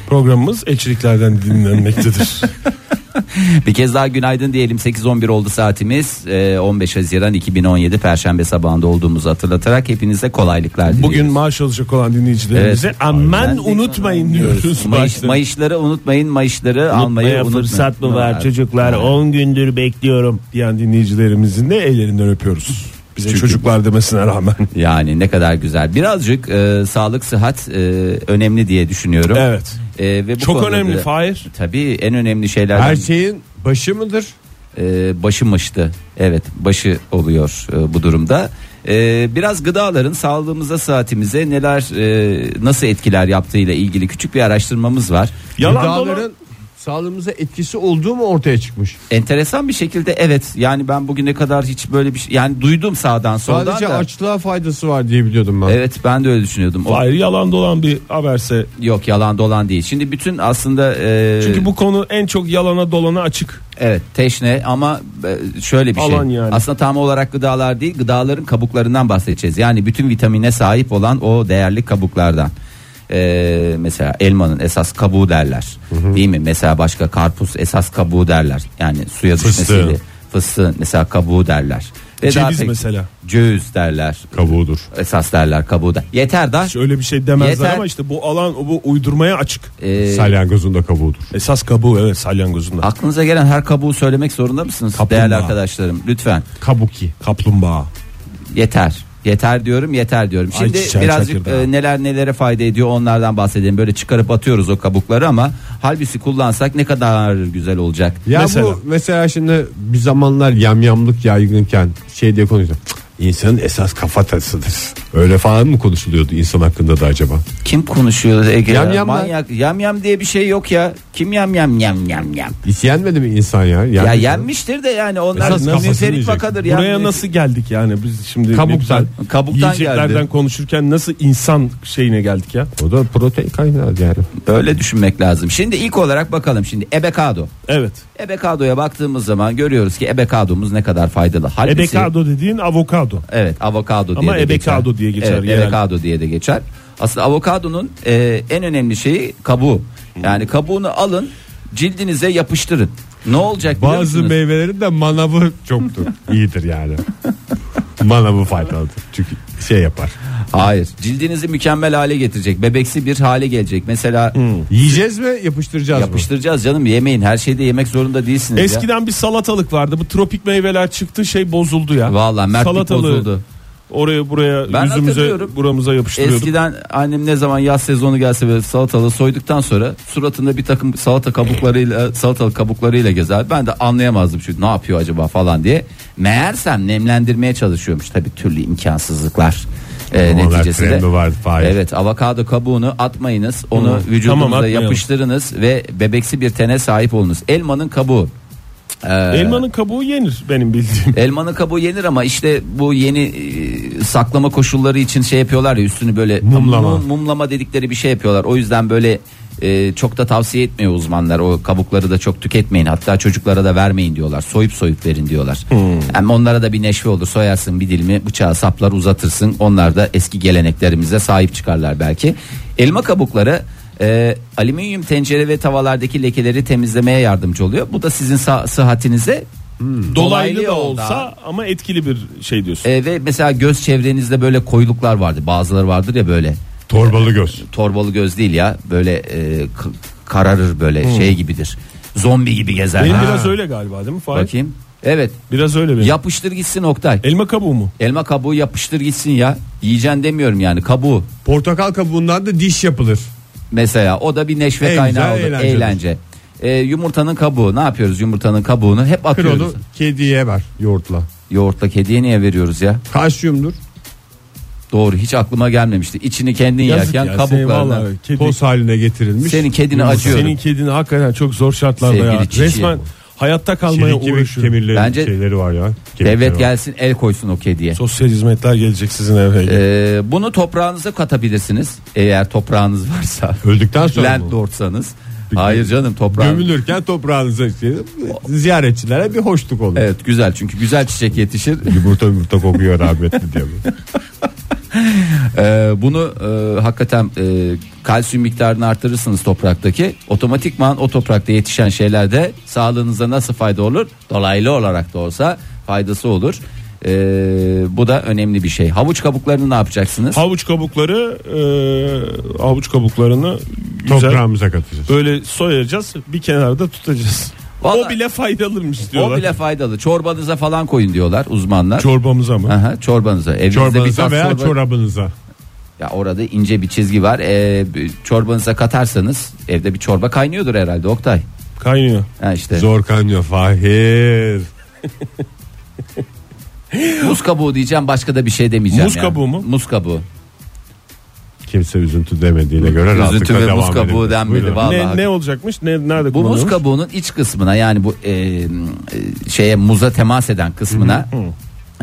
Speaker 5: Programımız ekşiliklerden dinlenmektedir.
Speaker 4: Bir kez daha günaydın diyelim 8.11 oldu saatimiz Ee, 15 Haziran 2017 Perşembe sabahında olduğumuzu hatırlatarak hepinize kolaylıklar diliyoruz.
Speaker 5: Bugün maaş alacak olan dinleyicilerimize
Speaker 4: Evet.
Speaker 5: aman unutmayın diyoruz.
Speaker 4: Mayış,
Speaker 5: başta.
Speaker 4: mayışları unutmayın mayışları almayı
Speaker 5: Unutmaya
Speaker 4: unutmayın.
Speaker 5: fırsat mı var çocuklar 10 gündür bekliyorum diyen dinleyicilerimizin de ellerinden öpüyoruz. Bize çocuklar demesine rağmen.
Speaker 4: Yani ne kadar güzel birazcık e, sağlık sıhhat e, önemli diye düşünüyorum.
Speaker 5: Evet.
Speaker 4: E, ve bu
Speaker 5: Çok
Speaker 4: konuda
Speaker 5: önemli şey
Speaker 4: da-
Speaker 5: Fahir.
Speaker 4: Tabii en önemli şeyler
Speaker 3: Her şeyin başı mıdır?
Speaker 4: e, başı mıştı. Evet başı oluyor e, bu durumda. E, biraz gıdaların sağlığımıza saatimize neler e, nasıl etkiler yaptığıyla ilgili küçük bir araştırmamız var.
Speaker 5: Yalan
Speaker 3: Gıdaların
Speaker 5: dolan-
Speaker 3: sağlığımıza etkisi olduğu mu ortaya çıkmış?
Speaker 4: Enteresan bir şekilde evet yani ben bugüne kadar hiç böyle bir şey yani duydum sağdan soldan
Speaker 3: Sadece
Speaker 4: da.
Speaker 3: açlığa faydası var diye biliyordum ben.
Speaker 4: Evet ben de öyle düşünüyordum. O-
Speaker 5: Fahir yalan dolan bir haberse.
Speaker 4: yok yalan dolan değil. Şimdi bütün aslında e,
Speaker 5: Çünkü bu konu en çok yalana dolana açık.
Speaker 4: Evet teşne ama e, şöyle bir
Speaker 5: Alan
Speaker 4: şey.
Speaker 5: yani.
Speaker 4: Aslında tam olarak gıdalar değil gıdaların kabuklarından bahsedeceğiz. Yani bütün vitamine sahip olan o değerli kabuklardan. E, mesela elmanın esas kabuğu derler. Değil mi? Mesela başka karpuz esas kabuğu derler. Yani suya düşmesiyle. Fıstığın mesela kabuğu derler. Ve daha
Speaker 5: Ceviz
Speaker 4: pek-
Speaker 5: mesela.
Speaker 4: Cöğüz derler.
Speaker 5: Kabuğudur.
Speaker 4: Esas derler kabuğu da. Yeter da.
Speaker 5: Hiç öyle bir şey demezler
Speaker 4: Yeter.
Speaker 5: ama işte bu alan bu uydurmaya açık.
Speaker 4: e,
Speaker 3: Salyangozun da kabuğudur.
Speaker 5: Esas kabuğu evet salyangozunda.
Speaker 4: aklınıza gelen her kabuğu söylemek zorunda mısınız?
Speaker 5: Kaplumbağa.
Speaker 4: Değerli arkadaşlarım lütfen.
Speaker 5: Kabuki. Kaplumbağa.
Speaker 4: Yeter. Yeter diyorum yeter diyorum. Şimdi
Speaker 5: çiçeği
Speaker 4: birazcık
Speaker 5: çakırdı ha.
Speaker 4: e, neler nelere fayda ediyor onlardan bahsedelim. Böyle çıkarıp atıyoruz o kabukları ama halbisi kullansak ne kadar güzel olacak.
Speaker 3: Ya
Speaker 5: Mesela.
Speaker 3: bu mesela şimdi bir zamanlar yamyamlık yaygınken şey diye konuşuyor. "Cık, İnsanın esas kafatasıdır. Öyle falan mı konuşuluyordu insan hakkında da acaba?
Speaker 4: Kim konuşuyor Ege? ya?
Speaker 3: Yamyamlar.
Speaker 4: Manyak. Yam yam diye bir şey yok ya. Kim yam yam yam yam yam?
Speaker 3: Hiç yenmedi mi insan ya? Yenmedi
Speaker 4: Ya
Speaker 3: mi?
Speaker 4: yenmiştir de yani onlar
Speaker 3: Esas kafasını
Speaker 4: müferit
Speaker 3: yiyecek.
Speaker 4: vakadır.
Speaker 5: Buraya
Speaker 4: Yani-
Speaker 5: nasıl geldik yani biz şimdi ne
Speaker 3: Kabuktan.
Speaker 5: güzel
Speaker 4: Kabuktan
Speaker 5: yiyeceklerden
Speaker 4: geldi.
Speaker 5: konuşurken nasıl insan şeyine geldik ya?
Speaker 3: O da protein kaynağı yani.
Speaker 4: Böyle düşünmek lazım. Şimdi ilk olarak bakalım şimdi ebekado.
Speaker 5: Evet.
Speaker 4: Ebekado'ya baktığımız zaman görüyoruz ki ebekadomuz ne kadar faydalı. Halbisi,
Speaker 5: Ebekado dediğin avokado.
Speaker 4: Evet avokado diye
Speaker 5: Ama
Speaker 4: de geçer.
Speaker 5: ebekado diye geçer
Speaker 4: Evet,
Speaker 5: genelde.
Speaker 4: ebekado diye de geçer. Aslında avokadonun e, en önemli şeyi kabuğu. Yani kabuğunu alın cildinize yapıştırın. Ne olacak biliyor
Speaker 3: Bazı
Speaker 4: musunuz?
Speaker 3: meyvelerin de manavı çoktur. İyidir yani. manavı faydalıdır. Çünkü şey yapar.
Speaker 4: Hayır. Cildinizi mükemmel hale getirecek. Bebeksi bir hale gelecek. Mesela
Speaker 5: Hmm.
Speaker 3: Yiyeceğiz mi yapıştıracağız mı?
Speaker 4: yapıştıracağız canım yemeyin. Her şeyde yemek zorunda değilsiniz ya.
Speaker 5: Eskiden bir salatalık vardı. Bu tropik meyveler çıktı şey bozuldu ya.
Speaker 4: Vallahi mertlik
Speaker 5: Salatalığı
Speaker 4: bozuldu.
Speaker 5: Oraya buraya
Speaker 4: Ben
Speaker 5: yüzümüze
Speaker 4: hatırlıyorum.
Speaker 5: buramıza yapıştırıyorduk.
Speaker 4: Eskiden annem ne zaman yaz sezonu gelse böyle salatalığı soyduktan sonra suratında bir takım salata kabuklarıyla salatalık kabuklarıyla gezer. Ben de anlayamazdım şu ne yapıyor acaba falan diye. Meğersem nemlendirmeye çalışıyormuş tabii türlü imkansızlıklar. e,
Speaker 3: Ama onlar
Speaker 4: neticesinde.
Speaker 3: kremi vardı, Fahir.
Speaker 4: Evet avokado kabuğunu atmayınız. Onu vücudunuza
Speaker 5: Tamam, atmayalım.
Speaker 4: yapıştırınız ve bebeksi bir tene sahip olunuz. Elmanın kabuğu. Ee,
Speaker 5: Elmanın kabuğu yenir benim bildiğim.
Speaker 4: Elmanın kabuğu yenir ama işte bu yeni e, saklama koşulları için şey yapıyorlar ya üstünü böyle
Speaker 3: Mumlama.
Speaker 4: Mum- mumlama dedikleri bir şey yapıyorlar. O yüzden böyle e, çok da tavsiye etmiyor uzmanlar. O kabukları da çok tüketmeyin. Hatta çocuklara da vermeyin diyorlar. Soyup soyup verin diyorlar. Hem onlara da bir neşve olur. Soyarsın bir dilimi bıçağı saplar uzatırsın. Onlar da eski geleneklerimize sahip çıkarlar belki. Elma kabukları e, alüminyum tencere ve tavalardaki lekeleri temizlemeye yardımcı oluyor. Bu da sizin sa- sıhhatinize hmm,
Speaker 5: Dolaylı da
Speaker 4: yoldan-
Speaker 5: olsa ama etkili bir şey diyorsun.
Speaker 4: e, ve mesela göz çevrenizde böyle koyuluklar vardı. Bazıları vardır ya böyle
Speaker 3: Torbalı göz.
Speaker 4: torbalı göz değil ya. Böyle e, k- kararır böyle şey gibidir. Zombi gibi gezer.
Speaker 5: Hmm. Benim
Speaker 4: Ha.
Speaker 5: biraz öyle galiba değil mi Fahir?
Speaker 4: Bakayım. Evet.
Speaker 5: Biraz öyle benim.
Speaker 4: Yapıştır gitsin Oktay.
Speaker 5: Elma kabuğu mu?
Speaker 4: Elma kabuğu yapıştır gitsin ya. Yiyeceksin demiyorum yani kabuğu.
Speaker 3: Portakal kabuğundan da diş yapılır.
Speaker 4: Mesela o da bir neşve
Speaker 3: En güzel
Speaker 4: kaynağı olur.
Speaker 3: eğlencedir.
Speaker 4: Eğlence. E, yumurtanın kabuğu ne yapıyoruz yumurtanın kabuğunu hep
Speaker 3: Kır
Speaker 4: atıyoruz.
Speaker 3: onu kediye ver yoğurtla.
Speaker 4: Yoğurtla kediye niye veriyoruz ya?
Speaker 3: Kalsiyumdur.
Speaker 4: Doğru hiç aklıma gelmemişti. İçini kendin
Speaker 5: Yazık
Speaker 4: yerken
Speaker 5: ya, seni
Speaker 4: kabuklarına.
Speaker 5: vallahi Ee, kedi-
Speaker 3: Toz haline getirilmiş.
Speaker 4: Senin kedini acıyorum.
Speaker 5: Senin kedini hakikaten çok zor şartlarda
Speaker 4: Sevgili
Speaker 5: ya.
Speaker 4: Çiçi.
Speaker 5: Resmen hayatta kalmaya
Speaker 3: Çelik kemik
Speaker 5: uğraşıyor.
Speaker 3: kemirleri
Speaker 4: Bence-
Speaker 3: şeyleri var ya. Kemikleri
Speaker 4: Devlet
Speaker 3: var.
Speaker 4: gelsin el koysun o kediye.
Speaker 5: Sosyal hizmetler gelecek sizin eve.
Speaker 4: Ee, bunu toprağınıza katabilirsiniz. Eğer toprağınız varsa.
Speaker 3: Öldükten sonra mı?
Speaker 4: Landlordsanız. Hayır canım toprağın.
Speaker 3: Gömülürken toprağınıza şey- ziyaretçilere bir hoşluk olur.
Speaker 4: Evet güzel çünkü güzel çiçek yetişir.
Speaker 3: Yumurta yumurta kokuyor rahmetli diye.
Speaker 4: Ee, bunu e, hakikaten e, kalsiyum miktarını artırırsınız topraktaki. Otomatikman o toprakta yetişen şeyler de sağlığınıza nasıl fayda olur? Dolaylı olarak da olsa faydası olur. Ee, bu da önemli bir şey. Havuç kabuklarını ne yapacaksınız?
Speaker 5: Havuç kabukları e, havuç kabuklarını güzel
Speaker 3: Toprağımıza katacağız.
Speaker 5: böyle soyacağız bir kenarda tutacağız.
Speaker 4: Vallahi-
Speaker 5: o bile faydalımış diyorlar.
Speaker 4: o bile faydalı. Çorbanıza falan koyun diyorlar uzmanlar.
Speaker 5: Çorbamıza mı?
Speaker 4: Aha, çorbanıza. Evinizde
Speaker 3: Çorbanıza
Speaker 4: bir
Speaker 3: veya
Speaker 4: veya çorba.
Speaker 3: çorabınıza.
Speaker 4: Ya orada ince bir çizgi var. Ee, bir- çorbanıza katarsanız evde bir çorba kaynıyordur herhalde Oktay.
Speaker 5: Kaynıyor.
Speaker 4: Ha işte.
Speaker 3: Zor kaynıyor Fahir.
Speaker 4: Muz kabuğu diyeceğim başka da bir şey demeyeceğim.
Speaker 5: Muz
Speaker 4: yani.
Speaker 5: kabuğu mu?
Speaker 4: Muz kabuğu.
Speaker 3: Kimse üzüntü demediğine göre rahatlıkla
Speaker 4: Üzüntü ve
Speaker 3: devam
Speaker 4: muz kabuğu
Speaker 3: edelim.
Speaker 4: denmedi.
Speaker 3: Buyurun.
Speaker 4: Vallahi
Speaker 5: Ne,
Speaker 4: hakikaten.
Speaker 5: ne olacakmış? Ne, nerede
Speaker 4: Bu muz
Speaker 5: kullanıyormuş?
Speaker 4: kabuğunun iç kısmına yani bu e, e, şeye muza temas eden kısmına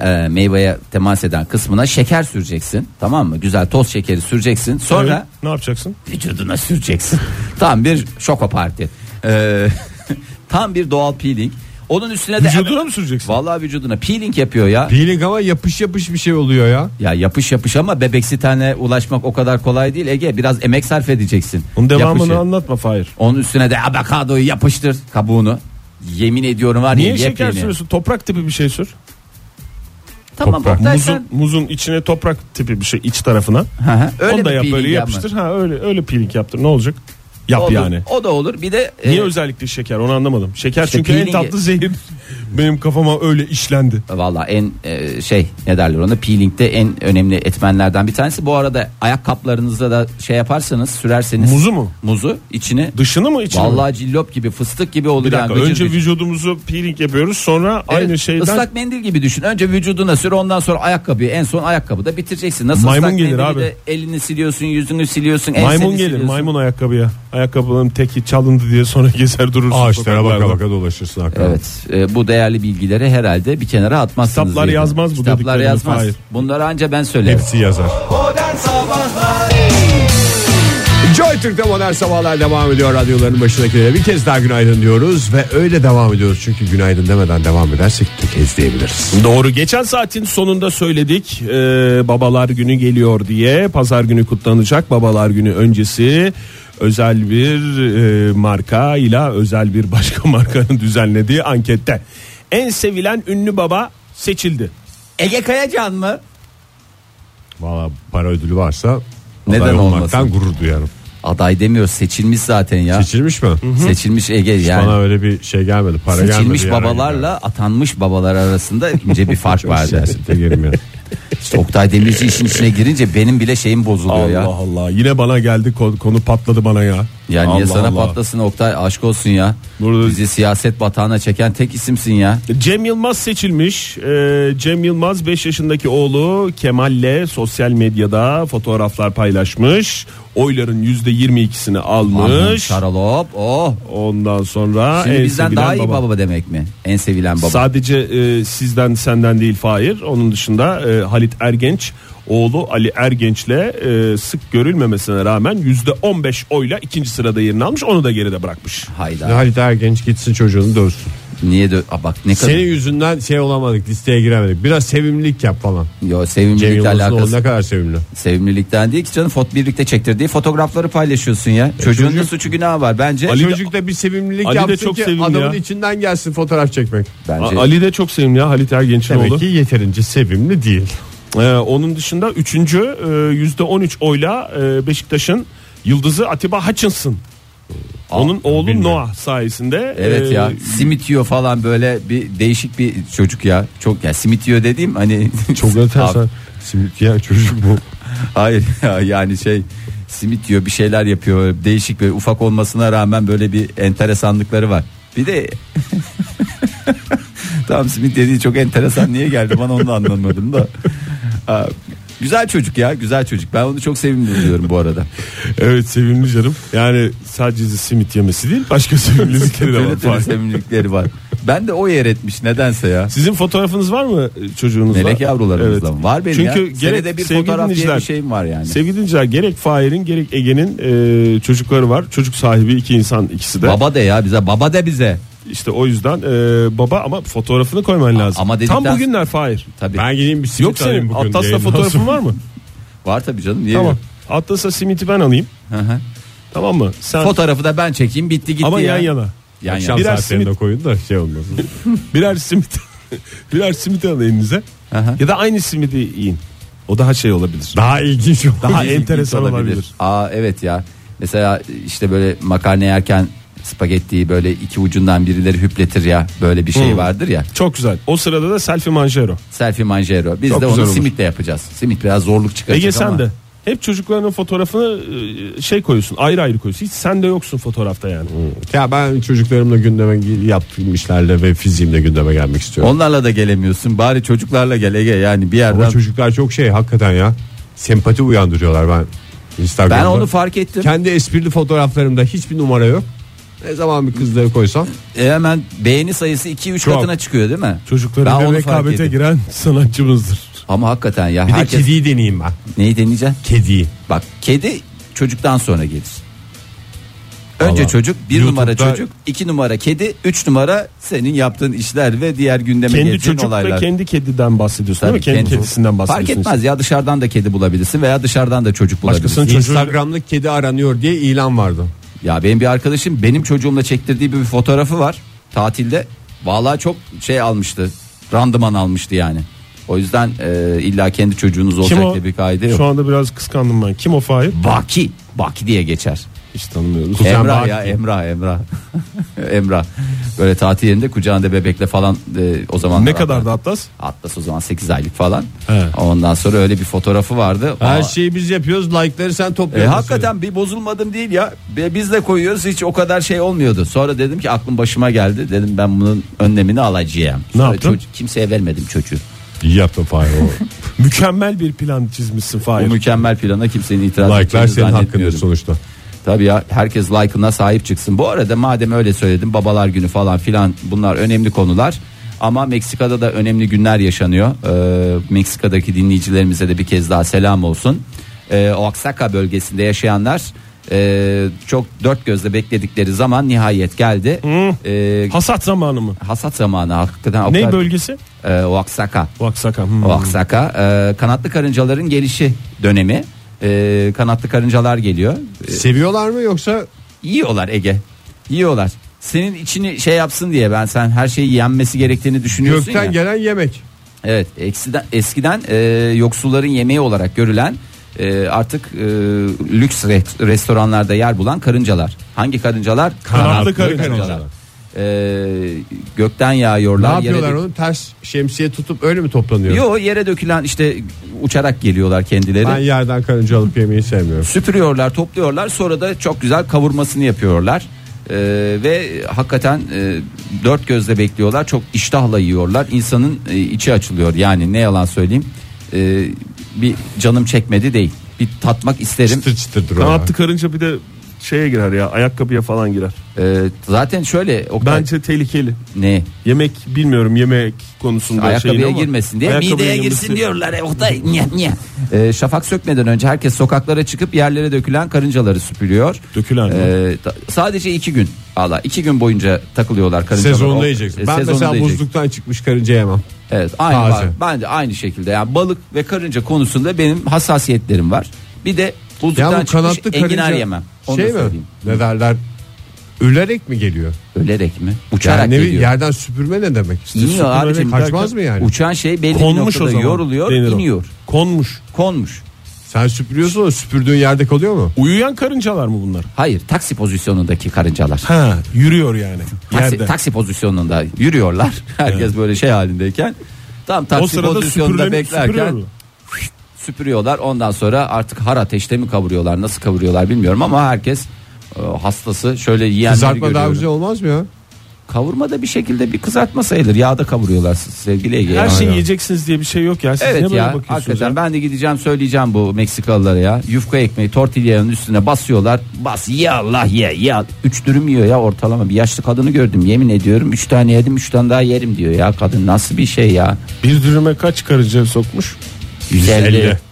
Speaker 4: e, meyveye temas eden kısmına şeker süreceksin. Tamam mı? Güzel toz şekeri süreceksin. Sonra
Speaker 5: Evet, ne yapacaksın?
Speaker 4: vücuduna süreceksin. tam bir şoko parti. Ee, tam bir doğal peeling. Onun üstüne de
Speaker 5: Vücuduna mı süreceksin?
Speaker 4: Vallahi vücuduna peeling yapıyor ya.
Speaker 3: Peeling ama yapış yapış bir şey oluyor ya.
Speaker 4: Ya yapış yapış ama bebeksi tane ulaşmak o kadar kolay değil Ege. Biraz emek sarf edeceksin.
Speaker 5: Onun devamını
Speaker 4: Yapışı.
Speaker 5: anlatma Fahir.
Speaker 4: Onun üstüne de avokadoyu yapıştır kabuğunu. Yemin ediyorum var ya
Speaker 5: Niye şeker
Speaker 4: yepyeni.
Speaker 5: sürüyorsun? Toprak tipi bir şey sür.
Speaker 4: Tamam
Speaker 3: Toprak.
Speaker 4: Oktay sen-
Speaker 5: Muzun, muzun içine toprak tipi bir şey iç tarafına.
Speaker 4: Hı hı.
Speaker 5: Öyle Onu da
Speaker 4: bir
Speaker 5: yap
Speaker 4: peeling
Speaker 5: böyle
Speaker 4: yapma.
Speaker 5: yapıştır. Ha öyle öyle peeling yaptır. Ne olacak? Yap
Speaker 4: Olur,
Speaker 5: yani.
Speaker 4: O da olur. Bir de
Speaker 5: Niye
Speaker 4: e,
Speaker 5: özellikle şeker onu anlamadım. Şeker
Speaker 4: İşte
Speaker 5: çünkü en
Speaker 4: peelingi-
Speaker 5: tatlı zehir. Benim kafama öyle işlendi.
Speaker 4: Valla en e, şey ne derler ona peelingde en önemli etmenlerden bir tanesi. Bu arada ayakkabılarınızda da şey yaparsanız sürerseniz.
Speaker 5: Muzu mu?
Speaker 4: Muzu içini.
Speaker 5: Dışını mı içini? mi?
Speaker 4: Vallahi cillop gibi fıstık gibi olur
Speaker 5: bir
Speaker 4: yani.
Speaker 5: dakika
Speaker 4: gıcır
Speaker 5: önce
Speaker 4: gıcır.
Speaker 5: vücudumuzu peeling yapıyoruz sonra
Speaker 4: Evet,
Speaker 5: aynı şeyden
Speaker 4: ıslak mendil gibi düşün. Önce vücuduna sür ondan sonra ayakkabıyı en son ayakkabıda bitireceksin. Nasıl
Speaker 5: Maymun
Speaker 4: ıslak
Speaker 5: gelir
Speaker 4: mendili
Speaker 5: abi.
Speaker 4: de elini siliyorsun, yüzünü siliyorsun, enseni
Speaker 5: maymun gelir
Speaker 4: siliyorsun.
Speaker 5: maymun ayakkabıya. Ayakkabının teki çalındı diye sonra gezer durursun.
Speaker 3: Ağaçlara baka
Speaker 5: sokaklarda.
Speaker 3: baka dolaşırsın hakikaten.
Speaker 4: Evet e, bu değerli bilgileri herhalde bir kenara atmazsınız.
Speaker 5: Kitaplar
Speaker 4: diye.
Speaker 5: yazmaz bu
Speaker 4: Kitaplar
Speaker 5: dediklerini,
Speaker 4: yazmaz.
Speaker 5: Fahir.
Speaker 4: Bunları anca ben söylerim.
Speaker 3: Hepsi yazar.
Speaker 2: Modern Sabahlar
Speaker 3: Joy Türk'te modern sabahlar devam ediyor. Radyoların başındakilere bir kez daha günaydın diyoruz. Ve öyle devam ediyoruz. Çünkü günaydın demeden devam edersek tökezleyebiliriz.
Speaker 5: Doğru geçen saatin sonunda söyledik e, babalar günü geliyor diye pazar günü kutlanacak babalar günü öncesi özel bir e, marka ile özel bir başka markanın düzenlediği ankette en sevilen ünlü baba seçildi.
Speaker 4: Ege Kayacan mı?
Speaker 3: Valla para ödülü varsa
Speaker 4: Neden
Speaker 3: aday olmaktan
Speaker 4: olmasın?
Speaker 3: gurur duyarım.
Speaker 4: Aday demiyor seçilmiş zaten ya.
Speaker 3: Seçilmiş mi?
Speaker 4: Seçilmiş Ege yani.
Speaker 3: Bana öyle bir şey gelmedi. Para
Speaker 4: Seçilmiş
Speaker 3: gelmedi.
Speaker 4: babalarla atanmış babalar arasında ince bir fark vardı.
Speaker 3: Siyasete girmiyor.
Speaker 4: İşte Oktay Demirci işin içine girince benim bile şeyim bozuluyor
Speaker 5: Allah
Speaker 4: ya.
Speaker 5: Allah yine bana geldi konu, konu patladı bana ya.
Speaker 4: Ya
Speaker 5: Allah
Speaker 4: niye sana
Speaker 5: Allah.
Speaker 4: patlasın Oktay aşk olsun ya.
Speaker 5: Burada-
Speaker 4: Bizi siyaset batağına çeken tek isimsin ya.
Speaker 5: Cem Yılmaz seçilmiş. Ee, Cem Yılmaz 5 yaşındaki oğlu Kemal'le sosyal medyada fotoğraflar paylaşmış. Oyların %22'sini
Speaker 4: Aman
Speaker 5: almış.
Speaker 4: Şaralop. Oh.
Speaker 5: Ondan sonra
Speaker 4: Şimdi
Speaker 5: en
Speaker 4: bizden
Speaker 5: sevilen
Speaker 4: daha iyi
Speaker 5: baba.
Speaker 4: baba. demek mi? En sevilen baba.
Speaker 5: Sadece e, sizden senden değil Fahir. Onun dışında e, Halit Ergenç oğlu Ali Ergenç'le e, sık görülmemesine rağmen %15 oyla ikinci sırada yerini almış. Onu da geride bırakmış.
Speaker 4: Hayda.
Speaker 3: Halit Ergenç gitsin çocuğunu dövsün.
Speaker 4: Niye dö- Aa, bak ne kadar.
Speaker 3: Senin yüzünden şey olamadık listeye giremedik. Biraz sevimlilik yap falan.
Speaker 4: Yo
Speaker 3: Cem
Speaker 4: sevimlilikle
Speaker 3: Yılmaz'ın oğlu
Speaker 4: alakası.
Speaker 3: ne kadar sevimli.
Speaker 4: Sevimlilikten değil ki canım fot birlikte çektirdiği fotoğrafları paylaşıyorsun ya. Çocuğun ne suçu günahı var bence.
Speaker 5: E, Ali-
Speaker 3: Çocukta bir sevimlilik
Speaker 5: Ali de
Speaker 3: yapsın
Speaker 5: çok
Speaker 3: ki
Speaker 5: sevimli
Speaker 3: adamın
Speaker 5: ya.
Speaker 3: içinden gelsin fotoğraf çekmek.
Speaker 4: bence.
Speaker 5: A- Ali de çok sevimli ya Halit Ergenç'in
Speaker 3: Demek
Speaker 5: oğlu.
Speaker 3: ki yeterince sevimli değil.
Speaker 5: Ee, onun dışında üçüncü e, %13 oyla e, Beşiktaş'ın yıldızı Atiba Hutchinson. Onun oğlu
Speaker 3: bilmiyorum.
Speaker 5: Noah sayesinde.
Speaker 4: Evet
Speaker 5: e,
Speaker 4: ya simit yiyor falan böyle bir değişik bir çocuk ya. Çok ya simit yiyor dediğim hani
Speaker 3: Çok enteresan. Simit yiyen çocuk bu.
Speaker 4: Hayır ya, yani şey simit yiyor bir şeyler yapıyor. Değişik ve ufak olmasına rağmen böyle bir enteresanlıkları var. Bir de Tamam simit dediği çok enteresan niye geldi bana onu da anlamadım da. Aa, güzel çocuk ya güzel çocuk. Ben onu çok sevimli buluyorum bu arada.
Speaker 5: Evet sevimli canım. Yani sadece simit yemesi değil başka sevimlilikleri de
Speaker 4: Böyle
Speaker 5: var.
Speaker 4: türlü
Speaker 5: Fahir.
Speaker 4: sevimlilikleri var. Ben de o yer etmiş nedense ya.
Speaker 5: Sizin fotoğrafınız var mı e, çocuğunuzla?
Speaker 4: Melek yavrularımızla mı? Var benim
Speaker 5: Çünkü
Speaker 4: ya.
Speaker 5: gerek
Speaker 4: Senede bir
Speaker 5: sevgili
Speaker 4: fotoğraf diye
Speaker 5: dinleyiciler-
Speaker 4: bir şeyim var yani.
Speaker 5: Sevgili dinleyiciler gerek Fahir'in gerek Ege'nin e, çocukları var. Çocuk sahibi iki insan ikisi de.
Speaker 4: Baba de ya bize baba de bize.
Speaker 5: İşte o yüzden e, baba ama fotoğrafını koyman lazım.
Speaker 4: ama dedikten-
Speaker 5: Tam bugünler Fahir.
Speaker 4: Tabii.
Speaker 3: Ben gideyim bir simit
Speaker 5: Yok senin
Speaker 3: alayım bugün.
Speaker 5: Atlas'la
Speaker 3: yayından
Speaker 5: fotoğrafın
Speaker 3: sonra.
Speaker 5: var mı?
Speaker 4: Var tabii canım. Niye
Speaker 5: Tamam.
Speaker 4: yok?
Speaker 5: Atlas'a simiti ben alayım.
Speaker 4: Hı hı.
Speaker 5: Tamam mı? Sen
Speaker 4: Fotoğrafı da ben çekeyim bitti gitti
Speaker 5: ama
Speaker 4: ya.
Speaker 5: yan yana.
Speaker 4: Yan
Speaker 3: Akşam
Speaker 5: Biraz
Speaker 3: saatlerine
Speaker 5: simit.
Speaker 3: koyun da şey olmasın.
Speaker 5: Birer simit. birer simit alın elinize.
Speaker 4: Aha.
Speaker 5: Ya da aynı simidi yiyin. O daha şey olabilir.
Speaker 3: Daha ilginç olur.
Speaker 5: Daha
Speaker 4: İlginç
Speaker 5: enteresan olabilir.
Speaker 4: şey Aa evet ya. Mesela işte böyle makarna yerken spagettiyi böyle iki ucundan birileri hüpletir ya. Böyle bir şey
Speaker 5: Hı.
Speaker 4: vardır ya.
Speaker 5: Çok güzel. O sırada da selfie manjero.
Speaker 4: Selfie manjero. Biz
Speaker 5: Çok
Speaker 4: de
Speaker 5: güzel
Speaker 4: onu
Speaker 5: olur.
Speaker 4: simitle yapacağız. Simit biraz zorluk çıkaracak
Speaker 5: Ege sen
Speaker 4: ama.
Speaker 5: de. Hep çocuklarının fotoğrafını e, şey koyuyorsun. Ayrı ayrı koyuyorsun. Hiç sen de yoksun fotoğrafta yani.
Speaker 3: Ya ben çocuklarımla gündeme yaptığım işlerle ve fiziğimle gündeme gelmek istiyorum.
Speaker 4: Onlarla da gelemiyorsun. Bari çocuklarla gel Ege. Yani bir
Speaker 3: Ama
Speaker 4: yerden.
Speaker 3: çocuklar çok şey hakikaten ya. Sempati uyandırıyorlar ben. Instagram'da.
Speaker 4: Ben onu fark ettim.
Speaker 3: Kendi esprili fotoğraflarımda hiçbir numara yok. Ne zaman bir kızları koysam
Speaker 4: E, hemen beğeni sayısı 2-3
Speaker 5: Çok.
Speaker 4: katına çıkıyor değil mi? Ben
Speaker 5: Çocuklarıyla
Speaker 4: onu fark
Speaker 5: rekabete
Speaker 4: ettim.
Speaker 5: giren sanatçımızdır.
Speaker 4: Ama hakikaten ya
Speaker 3: bir
Speaker 4: herkes
Speaker 3: de kediyi deneyeyim ben.
Speaker 4: neyi deneyeceksin?
Speaker 3: Kediyi.
Speaker 4: Bak kedi çocuktan sonra gelir. Önce
Speaker 3: Vallahi
Speaker 4: çocuk, bir
Speaker 3: YouTube'da-
Speaker 4: numara çocuk, iki numara kedi, üç numara senin yaptığın işler ve diğer gündeme
Speaker 5: Kendi
Speaker 4: getirdiğin
Speaker 5: çocuk
Speaker 4: olaylar.
Speaker 5: ve kendi kediden bahsediyorsun
Speaker 4: Tabii,
Speaker 5: değil mi? Kendi,
Speaker 4: kendi-
Speaker 5: kedisinden
Speaker 4: Fark
Speaker 5: bahsediyorsun.
Speaker 4: etmez ya dışarıdan da kedi bulabilirsin veya dışarıdan da çocuk bulabilirsin.
Speaker 5: Başkasının çocuğu
Speaker 3: Instagram'da kedi aranıyor diye ilan vardı.
Speaker 4: Ya benim bir arkadaşım benim çocuğumla çektirdiği bir fotoğrafı var tatilde. Vallahi çok şey almıştı, randıman almıştı yani. O yüzden e, illa kendi çocuğunuz olacak
Speaker 5: kim o?
Speaker 4: diye bir kaide
Speaker 5: Şu
Speaker 4: yok.
Speaker 5: anda biraz kıskandım ben. Kim o Fahir?
Speaker 4: Baki, Baki diye geçer.
Speaker 5: Hiç tanımıyoruz.
Speaker 4: Emrah
Speaker 3: Baki.
Speaker 4: ya Emrah Emrah. Emrah. Böyle tatil yerinde kucağında bebekle falan e, o zaman
Speaker 5: Ne kadar da Atlas?
Speaker 4: Atlas o zaman 8 aylık falan.
Speaker 5: He. şey
Speaker 4: Ondan sonra öyle bir fotoğrafı vardı.
Speaker 3: Her
Speaker 4: Aa,
Speaker 3: şeyi biz yapıyoruz like'ları sen
Speaker 4: e,
Speaker 3: topluyorsun.
Speaker 4: hakikaten bir bozulmadım değil ya. Be- Biz de koyuyoruz hiç o kadar şey olmuyordu. Sonra dedim ki aklım başıma geldi. Dedim ben bunun önlemini alacağım.
Speaker 5: Ne
Speaker 4: Sonra
Speaker 5: yaptın?
Speaker 4: çocuğu- kimseye vermedim çocuğu.
Speaker 3: İyi yaptın Fahir o.
Speaker 5: Mükemmel bir plan çizmişsin Fahir.
Speaker 4: Bu mükemmel plana kimsenin itiraz
Speaker 3: Like'lar
Speaker 4: edeceğini
Speaker 3: senin hakkındır
Speaker 4: zannetmiyorum.
Speaker 3: sonuçta.
Speaker 4: Tabii ya herkes like'ına sahip çıksın. Bu arada madem öyle söyledim babalar günü falan filan bunlar önemli konular. Ama Meksika'da da önemli günler yaşanıyor. Ee, Meksika'daki dinleyicilerimize de bir kez daha selam olsun. Ee, Oaxaca bölgesinde yaşayanlar e, çok dört gözle bekledikleri zaman nihayet geldi. Ee,
Speaker 5: Hasat zamanı mı?
Speaker 4: hasat zamanı hakikaten. o
Speaker 5: Ne
Speaker 4: kadar-
Speaker 5: bölgesi?
Speaker 4: Ee, Oaxaca.
Speaker 5: Vaksaka. Hmm.
Speaker 4: Oaxaca. Ee, kanatlı karıncaların gelişi dönemi. Ee, kanatlı karıncalar geliyor.
Speaker 3: Seviyorlar mı yoksa
Speaker 4: Yiyorlar Ege. Yiyorlar. Senin içini şey yapsın diye ben sen her şeyi yenmesi gerektiğini düşünüyorsun
Speaker 3: gökten
Speaker 4: ya.
Speaker 3: gelen yemek?
Speaker 4: Evet eksiden, eskiden e, yoksulların yemeği olarak görülen e, artık e, lüks re- restoranlarda yer bulan karıncalar. Hangi karıncalar?
Speaker 5: Kanatlı karıncalar.
Speaker 4: E, gökten
Speaker 3: Ne
Speaker 4: yağıyorlar. yere
Speaker 3: yapıyorlar
Speaker 4: dök-
Speaker 3: onu? Ters şemsiye tutup öyle mi toplanıyor?
Speaker 4: Yo yere dökülen işte uçarak geliyorlar kendileri.
Speaker 3: Ben yerden karınca alıp yemeyi sevmiyorum.
Speaker 4: Süpürüyorlar, topluyorlar. Sonra da çok güzel kavurmasını yapıyorlar. E, ve hakikaten e, dört gözle bekliyorlar. Çok iştahla yiyorlar. İnsanın e, içi açılıyor. Yani ne yalan söyleyeyim. E, bir canım çekmedi değil. Bir tatmak isterim.
Speaker 3: Çıtır çıtırdır o.
Speaker 5: Kanatlı karınca bir de şeye girer ya ayakkabıya falan girer.
Speaker 4: E, zaten şöyle Oktay,
Speaker 5: Bence tehlikeli.
Speaker 4: ne?
Speaker 5: Yemek bilmiyorum yemek konusunda şeyini
Speaker 4: Ayakkabıya
Speaker 5: ama-
Speaker 4: girmesin diye
Speaker 5: Ayakkabıya
Speaker 4: mideye
Speaker 5: girmesi-
Speaker 4: girsin diyorlar. E, Oktay niye niye? E, şafak sökmeden önce herkes sokaklara çıkıp yerlere dökülen karıncaları süpürüyor.
Speaker 5: Dökülen mi?
Speaker 4: E, ta- sadece iki gün. Allah iki gün boyunca takılıyorlar karıncalar. O-
Speaker 3: Sezonda yiyeceksin.
Speaker 4: e,
Speaker 3: Ben
Speaker 4: sezonda
Speaker 3: mesela
Speaker 4: yiyeceksin.
Speaker 3: buzluktan çıkmış karınca yemem.
Speaker 4: Evet, aynı
Speaker 3: Taze.
Speaker 4: var. Ben de aynı şekilde. Yani balık ve karınca konusunda benim hassasiyetlerim var. Bir de buzluktan
Speaker 3: Ya bu
Speaker 4: çıkmış
Speaker 3: kanatlı
Speaker 4: enginar
Speaker 3: karınca
Speaker 4: yemem. Onu
Speaker 3: şey
Speaker 4: da
Speaker 3: mi?
Speaker 4: söyleyeyim.
Speaker 3: Ne derler? Ülerek mi geliyor?
Speaker 4: Ölerek mi?
Speaker 3: Yani
Speaker 4: Uçarak
Speaker 3: ne,
Speaker 4: geliyor.
Speaker 3: yerden süpürme ne demek? İşte
Speaker 4: İniyor
Speaker 3: süpürme
Speaker 4: abicim.
Speaker 3: Kaçmaz mı yani?
Speaker 4: Uçan şey belli bir
Speaker 5: Konmuş o
Speaker 4: noktada
Speaker 5: zaman.
Speaker 4: yoruluyor,
Speaker 5: denir o.
Speaker 4: iniyor.
Speaker 5: Konmuş.
Speaker 4: Konmuş.
Speaker 3: Sen süpürüyorsun o süpürdüğün yerde kalıyor mu?
Speaker 5: Uyuyan karıncalar mı bunlar?
Speaker 4: Hayır taksi pozisyonundaki karıncalar.
Speaker 5: Ha, yürüyor yani.
Speaker 4: Taksi,
Speaker 5: yerde.
Speaker 4: taksi pozisyonunda yürüyorlar. Herkes böyle şey halindeyken. Tam taksi
Speaker 5: o sırada
Speaker 4: pozisyonunda
Speaker 5: süpürülen,
Speaker 4: beklerken
Speaker 5: beklerken
Speaker 4: süpürüyorlar. Ondan sonra artık har ateşte mi kavuruyorlar nasıl kavuruyorlar bilmiyorum ama herkes e, hastası şöyle yiyenleri
Speaker 3: Kızartma daha
Speaker 4: görüyorum.
Speaker 3: güzel olmaz mı ya?
Speaker 4: Kavurma da bir şekilde bir kızartma sayılır. Yağda kavuruyorlar sevgili Ege.
Speaker 5: her
Speaker 4: Yani.
Speaker 5: şeyi yiyeceksiniz diye bir şey yok ya. Siz ne
Speaker 4: Evet
Speaker 5: böyle
Speaker 4: ya
Speaker 5: bakıyorsunuz?
Speaker 4: hakikaten
Speaker 5: ya?
Speaker 4: ben de gideceğim söyleyeceğim bu Meksikalılara ya. Yufka ekmeği tortillanın üstüne basıyorlar. Bas ye Allah ye ye. Üç dürüm yiyor ya ortalama. Bir yaşlı kadını gördüm yemin ediyorum. Üç tane yedim üç tane daha yerim diyor ya kadın. Nasıl bir şey ya.
Speaker 5: Bir dürüme kaç karınca sokmuş?
Speaker 4: 150.